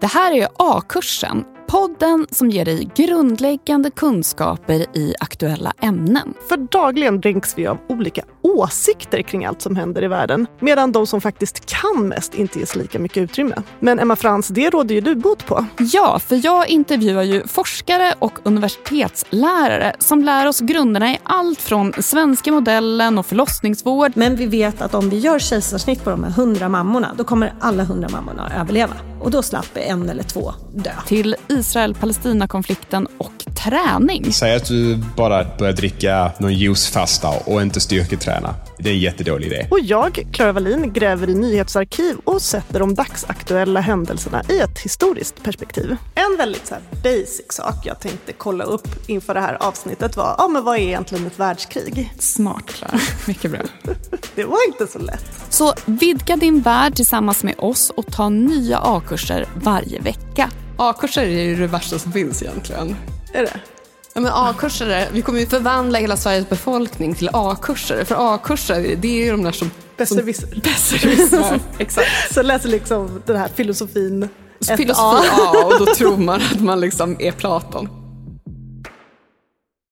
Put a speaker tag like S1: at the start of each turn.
S1: Det här är A-kursen, podden som ger dig grundläggande kunskaper i aktuella ämnen.
S2: För dagligen dränks vi av olika åsikter kring allt som händer i världen medan de som faktiskt kan mest inte ges lika mycket utrymme. Men Emma Frans, det råder ju du bot på.
S1: Ja, för jag intervjuar ju forskare och universitetslärare som lär oss grunderna i allt från svenska modellen och förlossningsvård.
S3: Men vi vet att om vi gör kejsarsnitt på de här 100 mammorna, då kommer alla 100 mammorna att överleva. Och då slapp en eller två dö.
S1: Till Israel-Palestina-konflikten och träning.
S4: Säg att du bara börjar dricka någon juicefasta och inte styrketräna. Det är en jättedålig idé.
S2: Och jag, Clara Wallin, gräver i nyhetsarkiv och sätter de dagsaktuella händelserna i ett historiskt perspektiv.
S3: En väldigt så basic sak jag tänkte kolla upp inför det här avsnittet var, ja men vad är egentligen ett världskrig?
S1: Smart Clara, mycket bra.
S3: det var inte så lätt.
S1: Så vidga din värld tillsammans med oss och ta nya A-kurser varje vecka.
S5: A-kurser är ju det värsta som finns egentligen.
S3: Är det?
S5: Ja, men A-kurser, vi kommer ju förvandla hela Sveriges befolkning till A-kurser. För A-kurser, det är ju de där som...
S2: Besserwisser.
S5: Besserwisser, exakt.
S2: Så läser liksom den här filosofin
S5: Filosofi A. A och då tror man att man liksom är Platon.